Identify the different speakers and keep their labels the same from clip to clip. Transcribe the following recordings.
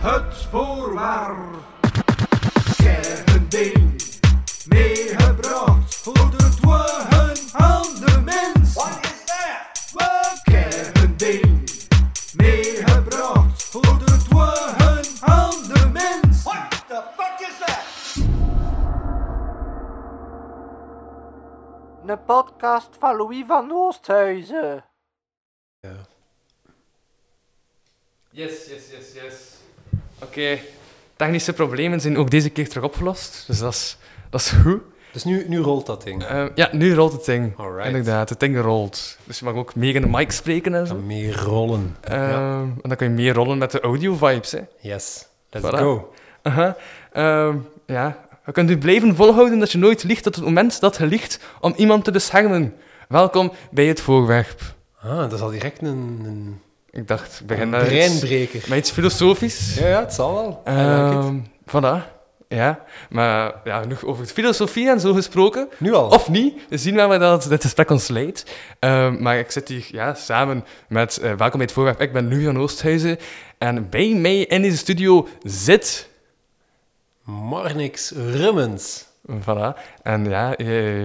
Speaker 1: Het voorwaar ding meegebracht voor het wogen van de mens. Wat is dat? We ding meegebracht voor het wogen van de mens.
Speaker 2: Een podcast van Louis van Oosthuizen.
Speaker 3: Yes, yes, yes, yes. Oké, technische problemen zijn ook deze keer terug opgelost. Dus dat is, dat is goed.
Speaker 4: Dus nu, nu rolt dat ding.
Speaker 3: Ehm, ja, nu rolt het ding.
Speaker 4: Alright.
Speaker 3: Inderdaad, het ding rolt. Dus je mag ook meer in de mic spreken en zo.
Speaker 4: Kan meer rollen.
Speaker 3: Ehm, En dan kun je meer rollen met de audio-vibes. Hè.
Speaker 4: Yes, let's
Speaker 3: Voilà.
Speaker 4: go.
Speaker 3: Aha. Ehm, ja. Je kunt u blijven volhouden dat je nooit liegt tot het moment dat je liegt om iemand te beschermen. Welkom bij het voorwerp.
Speaker 4: Ah, dat is al direct een, een
Speaker 3: Ik dacht, ik begin daar iets-
Speaker 4: breinbreker.
Speaker 3: met iets filosofisch.
Speaker 4: Ja, ja, het zal wel. I like it.
Speaker 3: Ehm, voilà. Ja, maar ja, genoeg over filosofie en zo gesproken.
Speaker 4: Nu al.
Speaker 3: Of niet, we zien wel waar dat dit gesprek ons leidt. Ehm, maar ik zit hier ja, samen met eh, Welkom bij het Voorwerp. Ik ben Louis van Oosthuizen. En bij mij in deze studio zit...
Speaker 4: Marnix Rummens.
Speaker 3: Voilà. En ja, eh,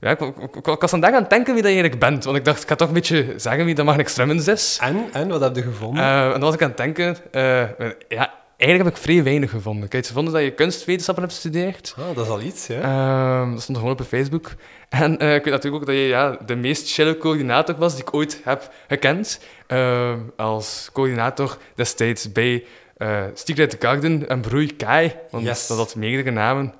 Speaker 3: ja ik, ik, ik- ik was vandaag aan het denken wie dat je eigenlijk bent. Want ik dacht, ik ga toch een beetje zeggen wie dat Magnus Strummens is.
Speaker 4: En, en wat heb je gevonden?
Speaker 3: Eh, en dan was ik aan het denken... eh, ja, eigenlijk heb ik vrij weinig gevonden. Ik heb iets gevonden dat je kunstwetenschappen hebt gestudeerd.
Speaker 4: ah, dat is al iets, hè?
Speaker 3: Ehm, dat stond gewoon op Facebook. En eh, ik weet natuurlijk ook dat je ja, de meest chille coördinator was die ik ooit heb gekend. Ehm, als coördinator destijds bij eh Secret Garden en Broei Kai. Want
Speaker 4: Yes.
Speaker 3: dat had meerdere namen.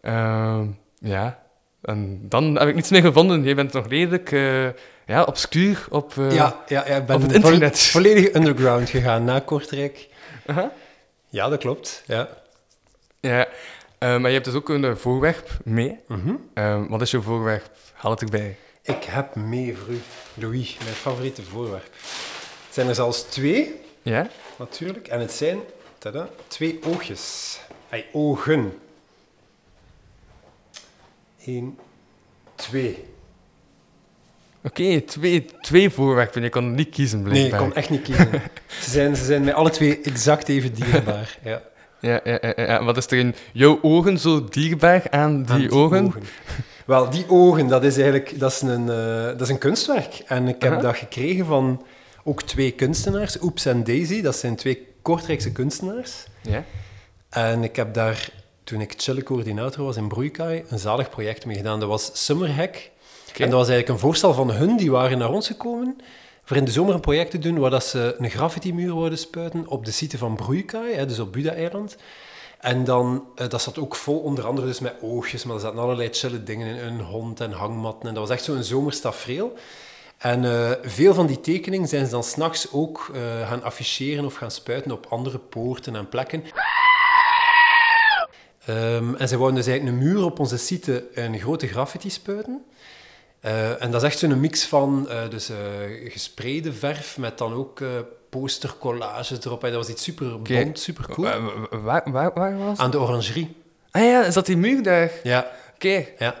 Speaker 3: Ehm, ja. En dan heb ik niets meer gevonden. Je bent nog redelijk eh, ja, obscuur op... eh,
Speaker 4: ja, ja, ja, ik ben
Speaker 3: op het
Speaker 4: vo-
Speaker 3: internet. Uh-huh.
Speaker 4: volledig underground gegaan na Kortrijk.
Speaker 3: aha.
Speaker 4: Ja, dat klopt. Ja.
Speaker 3: ja. Eh, maar je hebt dus ook een eh, voorwerp mee.
Speaker 4: Mhm.
Speaker 3: Ehm, wat is je voorwerp? Haal het erbij.
Speaker 4: Ik heb mee voor u, Louis, mijn favoriete voorwerp. Het zijn er zelfs twee.
Speaker 3: Ja?
Speaker 4: Natuurlijk. En het zijn tada, twee oogjes. Ay, ogen. Eén, twee.
Speaker 3: Oké, twee, twee voorwerpen. Je kon niet kiezen,
Speaker 4: Nee, ik
Speaker 3: blijkbaar.
Speaker 4: kon echt niet kiezen. ze, zijn, ze zijn mij alle twee exact even dierbaar. Ja,
Speaker 3: Ja, ja, ja, ja, ja. Wat is er in jouw ogen zo dierbaar aan die,
Speaker 4: aan
Speaker 3: ogen?
Speaker 4: Wel, die ogen, dat is eigenlijk dat is een, eh, dat is een kunstwerk. En ik heb
Speaker 3: Aha.
Speaker 4: dat gekregen van ook twee kunstenaars, Oeps en Daisy. Dat zijn twee Kortrijkse kunstenaars.
Speaker 3: Ja?
Speaker 4: En ik heb daar, toen ik chille coördinator was in Broeikai, een zalig project mee gedaan. Dat was Summerhack.
Speaker 3: Oké.
Speaker 4: En dat was eigenlijk een voorstel van hun, die waren naar ons gekomen, voor in de zomer een project te doen waar dat ze een graffiti-muur wouden spuiten op de site van Broeikai, hè, dus op Buda-eiland. En dan, eh, dat zat ook vol, onder andere dus met oogjes, maar er zaten allerlei chille dingen in, een hond en hangmatten. En dat was echt zo'n zomerstafreel. En eh, veel van die tekeningen zijn ze dan s'nachts ook eh, gaan afficheren of gaan spuiten op andere poorten en plekken. Ehm, en zij wouden dus eigenlijk een muur op onze site een grote graffiti spuiten. Eh, en dat is echt zo'n mix van eh dus, eh gespreide verf met dan ook eh, postercollages erop. En dat was iets super bond, super cool.
Speaker 3: Wa- wa- wa- Waar, waar, was
Speaker 4: Aan de orangerie.
Speaker 3: Ah ja, is dat die muur daar? Oké.
Speaker 4: Ja, ja.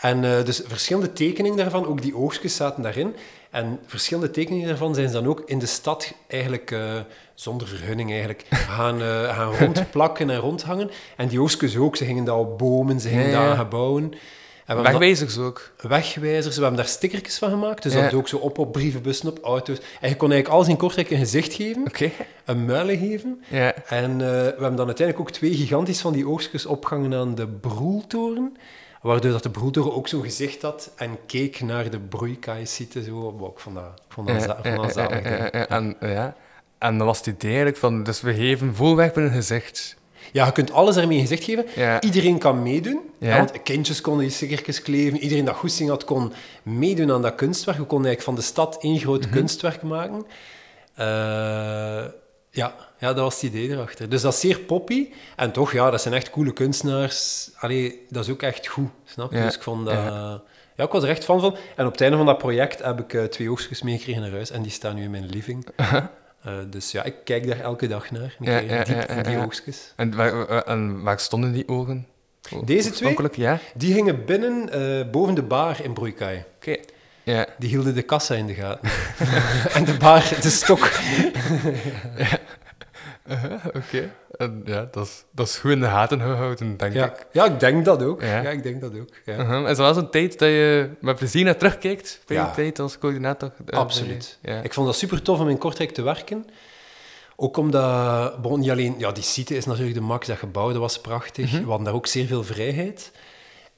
Speaker 4: En eh, dus verschillende tekeningen daarvan, ook die oogstjes zaten daarin. En verschillende tekeningen daarvan zijn ze dan ook in de stad eigenlijk, eh, zonder vergunning eigenlijk, gaan, eh, gaan rondplakken en rondhangen. En die oogstjes ook, ze gingen daar op bomen, ze gingen
Speaker 3: Ja,
Speaker 4: daar
Speaker 3: ja.
Speaker 4: aan gebouwen. En we hebben dat-
Speaker 3: Wegwijzers ook.
Speaker 4: wegwijzers. We hebben daar stickertjes van gemaakt. Dus
Speaker 3: Ja.
Speaker 4: dat ook zo op op brievenbussen, op auto's. En je kon eigenlijk alles in Kortrijk een gezicht geven,
Speaker 3: Oké.
Speaker 4: een muilen geven.
Speaker 3: Ja.
Speaker 4: En eh, we hebben dan uiteindelijk ook twee gigantisch van die oogstjes opgehangen aan de Broeltoren. Waardoor dat de Broeltoren ook zo'n gezicht had en keek naar de broeikaai-site. Zo. Wow, ik vond dat, ik vond dat,
Speaker 3: Ja,
Speaker 4: za- ik
Speaker 3: ja,
Speaker 4: vond dat
Speaker 3: ja,
Speaker 4: zalig.
Speaker 3: ja, ja, ja. En, ja. en dan was het idee eigenlijk van... Dus we geven voorwerpen een gezicht.
Speaker 4: Ja, je kunt alles ermee in gezicht geven.
Speaker 3: Ja.
Speaker 4: Iedereen kan meedoen.
Speaker 3: Ja.
Speaker 4: Ja, want kindjes konden die stickertjes kleven. Iedereen dat goesting had, kon meedoen aan dat kunstwerk. We konden eigenlijk van de stad één groot
Speaker 3: Mhm.
Speaker 4: kunstwerk maken. Eh, ja. ja, dat was het idee erachter. Dus dat is zeer poppy. En toch, ja, dat zijn echt coole kunstenaars. Allee, dat is ook echt goed, snap je?
Speaker 3: Ja.
Speaker 4: Dus ik vond dat...
Speaker 3: Ja.
Speaker 4: Ja. ik was er echt fan van. En op het einde van dat project heb ik eh, twee oogstjes meegekregen naar huis. En die staan nu in mijn living. Eh, dus ja, ik kijk daar elke dag naar. Ik
Speaker 3: Ja,
Speaker 4: kijk
Speaker 3: ja,
Speaker 4: diep
Speaker 3: ja,
Speaker 4: in die
Speaker 3: ja.
Speaker 4: oogstjes.
Speaker 3: En waar, waar- en waar stonden die ogen?
Speaker 4: Deze twee?
Speaker 3: Oorspronkelijk, ja.
Speaker 4: Die gingen binnen eh, boven de bar in Broeikai.
Speaker 3: Oké. Ja.
Speaker 4: Die hielden de kassa in de gaten. en de baar, de stok.
Speaker 3: Eh, Oké. En ja, dat is, dat is goed in de gaten gehouden, denk ik.
Speaker 4: Ja. ja, ik denk dat ook.
Speaker 3: Ja.
Speaker 4: Ja, ik denk dat ook. Ja.
Speaker 3: Mhm. Is er wel zo'n tijd dat je met plezier naar terugkijkt? Bij
Speaker 4: Ja.
Speaker 3: die tijd als coördinator? eh,
Speaker 4: Absoluut.
Speaker 3: bij- Ja.
Speaker 4: Ik vond dat super tof om in Kortrijk te werken. Ook omdat, bon, niet alleen, ja, die site is natuurlijk de max, dat gebouw dat was prachtig.
Speaker 3: Mhm.
Speaker 4: We hadden daar ook zeer veel vrijheid.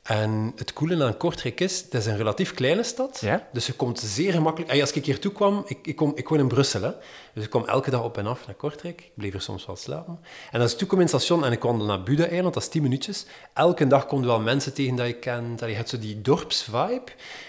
Speaker 4: En het coole aan Kortrijk is, het is een relatief kleine stad.
Speaker 3: Ja.
Speaker 4: Dus je komt zeer gemakkelijk... Ey, Als ik hier toe kwam, ik, ik, kom, ik woon in Brussel, hè. Dus ik kwam elke dag op en af naar Kortrijk. Ik bleef er soms wel slapen. En als ik toekwam in het station en ik wandel naar Buda-eiland, dat is 10 minuutjes. Elke dag komt wel mensen tegen dat je kent. Allee, Je hebt zo die dorpsvibe.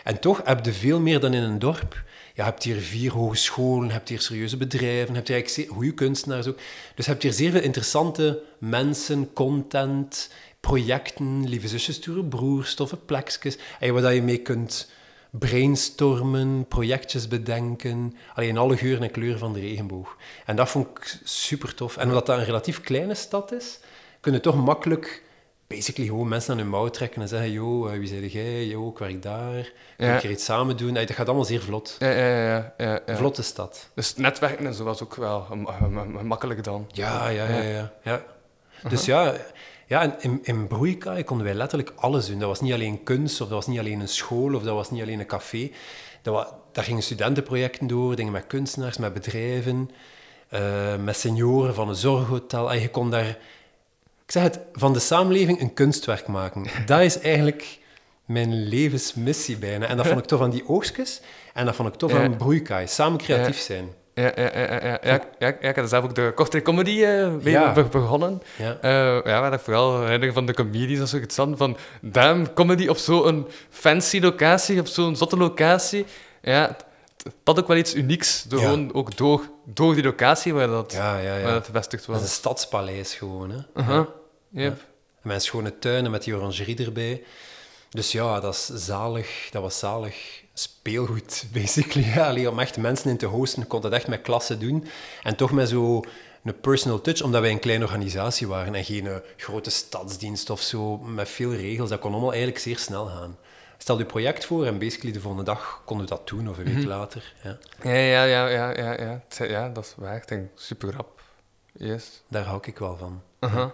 Speaker 4: En toch heb je veel meer dan in een dorp. Ja, je hebt hier vier hogescholen, je hebt hier serieuze bedrijven, je hebt hier eigenlijk zeer goede kunstenaars ook. Dus je hebt hier zeer veel interessante mensen, content, projecten, lieve zusjes, sturen broers, stoffe plekjes. En waar dat je mee kunt brainstormen, projectjes bedenken. Alleen in alle geuren en kleuren van de regenboog. En dat vond ik super tof. En omdat dat een relatief kleine stad is, kunnen toch makkelijk basically gewoon mensen aan hun mouw trekken en zeggen: Yo, eh, wie zei jij? Yo, ik werk daar. Kun
Speaker 3: Ja.
Speaker 4: je iets samen doen? Ey, Dat gaat allemaal zeer vlot.
Speaker 3: Ja, ja, ja, ja, ja.
Speaker 4: Vlotte stad.
Speaker 3: Dus netwerken en zo was ook wel eh, ma- ma- ma- makkelijk dan.
Speaker 4: Ja, ja, ja, ja. ja. Dus ja, ja en in, in Broeikaai konden wij letterlijk alles doen. Dat was niet alleen kunst, of dat was niet alleen een school, of dat was niet alleen een café. Dat wa- daar gingen studentenprojecten door, dingen met kunstenaars, met bedrijven, eh, met senioren van een zorghotel. En je kon daar, ik zeg het, van de samenleving een kunstwerk maken. Dat is eigenlijk mijn levensmissie bijna. En dat vond ik tof aan die oogstjes en dat vond ik tof
Speaker 3: Ja.
Speaker 4: aan Broeikai. Samen creatief zijn.
Speaker 3: Ja, ja, ja, ja, ja, ja, ik- ja, ik- ja, ik had zelf ook de korte comedy eh, mee
Speaker 4: Ja.
Speaker 3: be- begonnen.
Speaker 4: Ja.
Speaker 3: Eh, ja, waar ik vooral herinner van de comedies als ik het stand van damn, comedy op zo'n fancy locatie, op zo'n zotte locatie. Ja, t- dat ook wel iets unieks, door
Speaker 4: Ja.
Speaker 3: gewoon ook door, door die locatie waar dat,
Speaker 4: Ja, ja, ja.
Speaker 3: Waar dat gevestigd
Speaker 4: Dat is een
Speaker 3: was.
Speaker 4: stadspaleis gewoon, hè.
Speaker 3: Aha. Yep.
Speaker 4: En Mijn schone tuinen met die orangerie erbij. Dus ja, dat is zalig. Dat was zalig speelgoed, basically. Ja, allee, om echt mensen in te hosten, kon dat echt met klasse doen. En toch met zo een personal touch, omdat wij een kleine organisatie waren en geen eh, grote stadsdienst of zo, met veel regels. Dat kon allemaal eigenlijk zeer snel gaan. Stel je project voor en basically de volgende dag konden we dat doen, of een week later. Ja,
Speaker 3: Ja, ja, ja, ja, ja, ja. Het- ja, dat is waar. Ik denk super rap. Yes.
Speaker 4: daar hou ik wel van.
Speaker 3: Aha.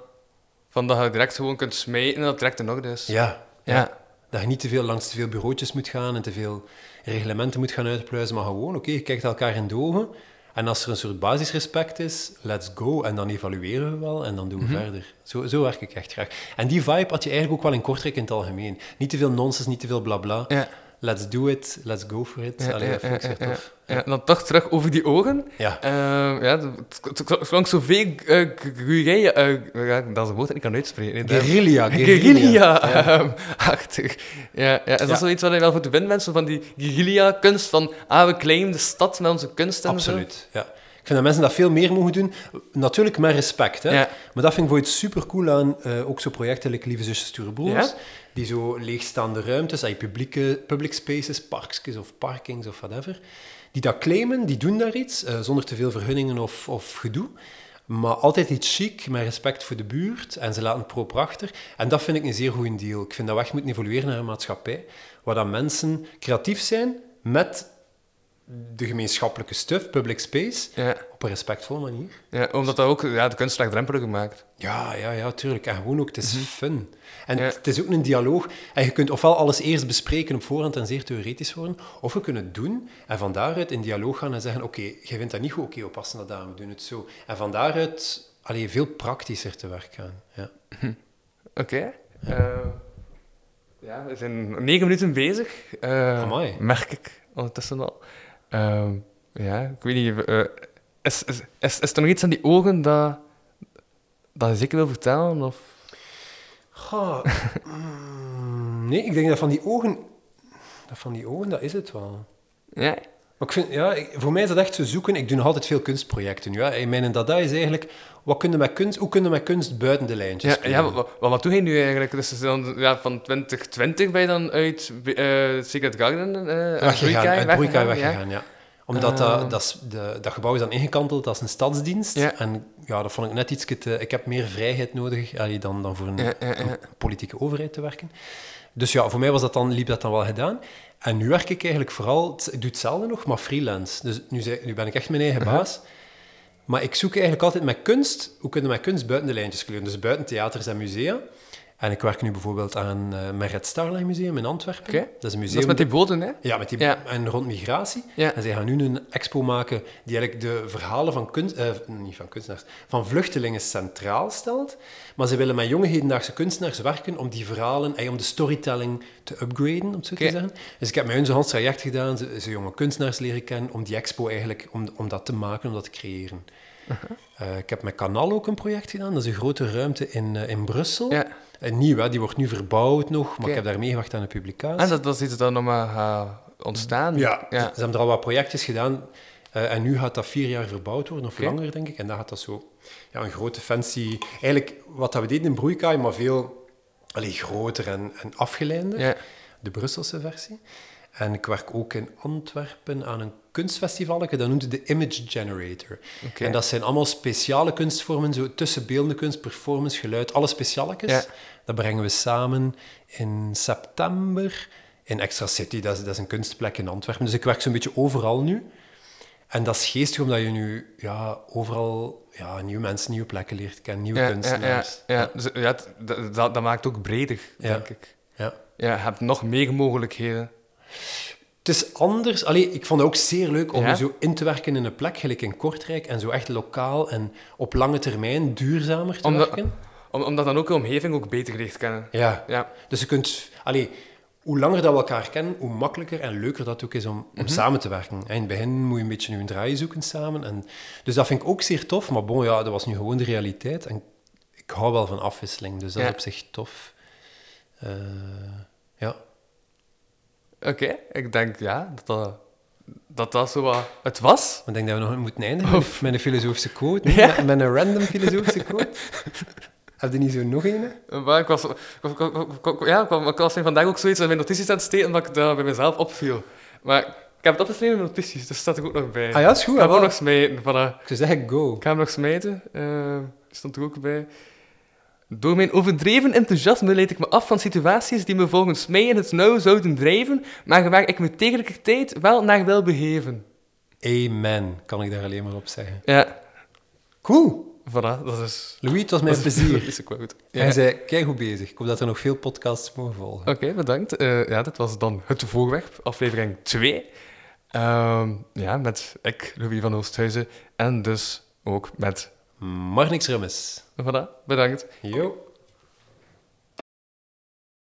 Speaker 3: Van dat je direct gewoon kunt smijten en dat het direct in orde is.
Speaker 4: Ja,
Speaker 3: ja.
Speaker 4: Dat je niet te veel langs te veel bureautjes moet gaan en te veel reglementen moet gaan uitpluizen, maar gewoon, oké, je kijkt elkaar in de ogen. En als er een soort basisrespect is, let's go. En dan evalueren we wel en dan
Speaker 3: Mhm.
Speaker 4: doen we verder. Zo, zo werk ik echt graag. En die vibe had je eigenlijk ook wel in Kortrijk in het algemeen. Niet te veel nonsens, niet te veel blabla.
Speaker 3: Ja.
Speaker 4: Let's do it, let's go for it.
Speaker 3: Ja,
Speaker 4: Allee,
Speaker 3: ja,
Speaker 4: dat vond ik
Speaker 3: ja,
Speaker 4: zeer
Speaker 3: ja,
Speaker 4: tof.
Speaker 3: ja. Ja, dan toch terug over die ogen.
Speaker 4: Ja.
Speaker 3: Ehm, ja, het- het het klonk zoveel... eh, g- guerrilla... eh, ja, dat is een woord dat ik kan uitspreken. Nee, daar-
Speaker 4: Guerrilla,
Speaker 3: Guerrilla. ehm, Achtig. Ja, ja, is dat
Speaker 4: Ja.
Speaker 3: zoiets wat je wel voor de win wenst? Zo Van die guerrilla-kunst van... Ah, we claimen de stad met onze kunst en zo.
Speaker 4: Absoluut, ja. Ik vind dat mensen dat veel meer mogen doen. Natuurlijk met respect, hè.
Speaker 3: Ja.
Speaker 4: Maar dat vind ik voor het supercool aan eh, ook zo projecten like Lieve Zusjes Sturen Broers.
Speaker 3: Ja.
Speaker 4: Die zo leegstaande ruimtes, ay, publieke, public spaces, parkjes of parkings of whatever. Die dat claimen, die doen daar iets, eh, zonder te veel vergunningen of, of gedoe. Maar altijd iets chic, met respect voor de buurt. En ze laten het proper achter. En dat vind ik een zeer goed deal. Ik vind dat we echt moeten evolueren naar een maatschappij waar dat mensen creatief zijn met de gemeenschappelijke stuff, public space,
Speaker 3: Ja.
Speaker 4: op een respectvolle manier.
Speaker 3: Ja, omdat dat ook ja, de kunst laagdrempelig gemaakt.
Speaker 4: Ja, ja, ja, tuurlijk. En gewoon ook, het is fun. En
Speaker 3: Ja.
Speaker 4: het is ook een dialoog. En je kunt ofwel alles eerst bespreken op voorhand en zeer theoretisch worden, of we kunnen het doen en van daaruit in dialoog gaan en zeggen, oké, jij vindt dat niet goed, oké, we passen dat aan, we doen het zo. En van daaruit allee, veel praktischer te werk gaan. Ja.
Speaker 3: Oké. Eh, ja, we zijn negen minuten bezig. Eh,
Speaker 4: Amai.
Speaker 3: Merk ik ondertussen al. Ehm, ja, ik weet niet. eh, is, is, is, is er nog iets aan die ogen dat, dat je zeker wil vertellen? Of?
Speaker 4: Goh, mm, nee, ik denk dat van die ogen, dat van die ogen, dat is het wel.
Speaker 3: Ja.
Speaker 4: Maar ik vind, ja, ik- voor mij is dat echt zo zoeken. Ik doe nog altijd veel kunstprojecten. nu, Ja. En Mijn dada is eigenlijk, wat kunnen met kunst, hoe kunnen we met kunst buiten de lijntjes
Speaker 3: Ja,
Speaker 4: spelen?
Speaker 3: ja, wat, wat doe je nu eigenlijk? Dus is dan, ja, van 2020 ben je dan uit eh Secret Garden, eh uit
Speaker 4: weggegaan,
Speaker 3: Broeikai
Speaker 4: uit Broeikai
Speaker 3: ja.
Speaker 4: weggegaan, ja. Omdat
Speaker 3: Ah.
Speaker 4: dat, dat, is- de, dat gebouw is dan ingekanteld als een stadsdienst.
Speaker 3: Ja.
Speaker 4: En ja, dat vond ik net iets... Te, ik heb meer vrijheid nodig allee, dan, dan voor een,
Speaker 3: Ja, ja, ja.
Speaker 4: een politieke overheid te werken. Dus ja, voor mij was dat dan, liep dat dan wel gedaan. En nu werk ik eigenlijk vooral... het- Ik doe hetzelfde nog, maar freelance. Dus nu, zei- nu ben ik echt mijn eigen baas. Maar ik zoek eigenlijk altijd met kunst... Hoe kunnen we met kunst buiten de lijntjes kleuren? Dus buiten theaters en musea. En ik werk nu bijvoorbeeld aan eh mijn Red Starline Museum in Antwerpen.
Speaker 3: Oké.
Speaker 4: Dat is een museum...
Speaker 3: Dat is met die boten, hè?
Speaker 4: Ja, met die,
Speaker 3: Ja.
Speaker 4: en rond migratie.
Speaker 3: Ja.
Speaker 4: En zij gaan nu een expo maken die eigenlijk de verhalen van, kunst, eh, niet van, kunstenaars, van vluchtelingen centraal stelt. Maar ze willen met jonge hedendaagse kunstenaars werken om die verhalen en om de storytelling te upgraden, om het zo
Speaker 3: Oké.
Speaker 4: te zeggen. Dus ik heb met hun zo'n Hans traject gedaan, ze, ze jonge kunstenaars leren kennen, om die expo eigenlijk, om, om dat te maken, om dat te creëren. Eh, ik heb met Canal ook een project gedaan, dat is een grote ruimte in, eh, in Brussel.
Speaker 3: Ja.
Speaker 4: En nieuw, hè? die wordt nu verbouwd nog, maar
Speaker 3: Oké. Ah,
Speaker 4: ik heb daar meegewacht aan de publicatie.
Speaker 3: En dat was iets dat nog maar eh, ontstaan.
Speaker 4: Ja, ze-
Speaker 3: ja.
Speaker 4: ze hebben er al wat projectjes gedaan. eh, en nu gaat dat vier jaar verbouwd worden, of
Speaker 3: Oké.
Speaker 4: langer, denk ik. En dan gaat dat zo ja, een grote fancy... Eigenlijk wat dat we deden in Broeikaai, maar veel allee, groter en, en afgeleider.
Speaker 3: Ja.
Speaker 4: De Brusselse versie. En ik werk ook in Antwerpen aan een kunstfestival. Dat noemt het de Image Generator.
Speaker 3: Oké.
Speaker 4: En dat zijn allemaal speciale kunstvormen. Zo tussen beeldende kunst, performance, geluid. Alle specialekes.
Speaker 3: Ja.
Speaker 4: Dat brengen we samen in september in Extra City. Dat is, dat is een kunstplek in Antwerpen. Dus ik werk zo'n beetje overal nu. En dat is geestig, omdat je nu ja, overal ja, nieuwe mensen, nieuwe plekken leert kennen. Nieuwe
Speaker 3: Ja, ja, ja,
Speaker 4: kunstenaars.
Speaker 3: ja. Dus, ja, het- dat, dat- dat maakt ook breder,
Speaker 4: Ja.
Speaker 3: denk ik.
Speaker 4: ja.
Speaker 3: Ja, je hebt nog meer mogelijkheden.
Speaker 4: Het is anders. Allee, ik vond het ook zeer leuk om
Speaker 3: Ja?
Speaker 4: zo in te werken in een plek, gelijk in Kortrijk, en zo echt lokaal en op lange termijn duurzamer te
Speaker 3: Omdat-
Speaker 4: werken.
Speaker 3: Om, omdat dan ook je omgeving ook beter leert kennen.
Speaker 4: Ja.
Speaker 3: Ja,
Speaker 4: Dus je kunt... Allee, hoe langer dat we elkaar kennen, hoe makkelijker en leuker dat ook is om, om
Speaker 3: Mhm.
Speaker 4: samen te werken. En in het begin moet je een beetje een draai zoeken samen. En, dus dat vind ik ook zeer tof. Maar bon, ja, dat was nu gewoon de realiteit. En ik hou wel van afwisseling, dus dat
Speaker 3: Ja.
Speaker 4: is op zich tof. Eh, ja.
Speaker 3: oké. Ik denk ja, dat dat, dat, dat zo wat het was.
Speaker 4: Ik denk dat we nog moeten eindigen met- met een filosofische quote. nee? Met, met een random filosofische quote. Heb je niet zo nog een?
Speaker 3: Eh, Maar ik was, ik, was- ik, was- ik was- ja, ik, was, ik was hier vandaag ook zoiets in mijn notities aan het steken dat ik dat bij mezelf opviel. Maar ik heb het opgeschreven in mijn notities, dus dat staat er ook nog bij.
Speaker 4: Ah ja, is goed.
Speaker 3: ik ga hem ook
Speaker 4: jawel.
Speaker 3: nog smijten. Voilà.
Speaker 4: Ik zou zeggen go.
Speaker 3: Ik ga hem nog smijten. eh, stond er ook bij. Door mijn overdreven enthousiasme leid ik me af van situaties die me volgens mij in het nauw zouden drijven, maar waar ik me tegelijkertijd wel naar wil begeven.
Speaker 4: Amen, kan ik daar alleen maar op zeggen.
Speaker 3: Ja,
Speaker 4: Cool.
Speaker 3: voilà, dat is...
Speaker 4: Louis, het was mijn
Speaker 3: dat is-
Speaker 4: plezier.
Speaker 3: is ook wel goed. Ja.
Speaker 4: Jij zei kijk hoe bezig. Ik hoop dat er nog veel podcasts mogen volgen.
Speaker 3: Oké, bedankt. Eh, ja, dat was dan het voorwerp, aflevering 2. ja, met ik, Louis van Oosthuizen, en dus ook met...
Speaker 4: Marnix Rummes.
Speaker 3: Voilà, bedankt.
Speaker 4: Jo.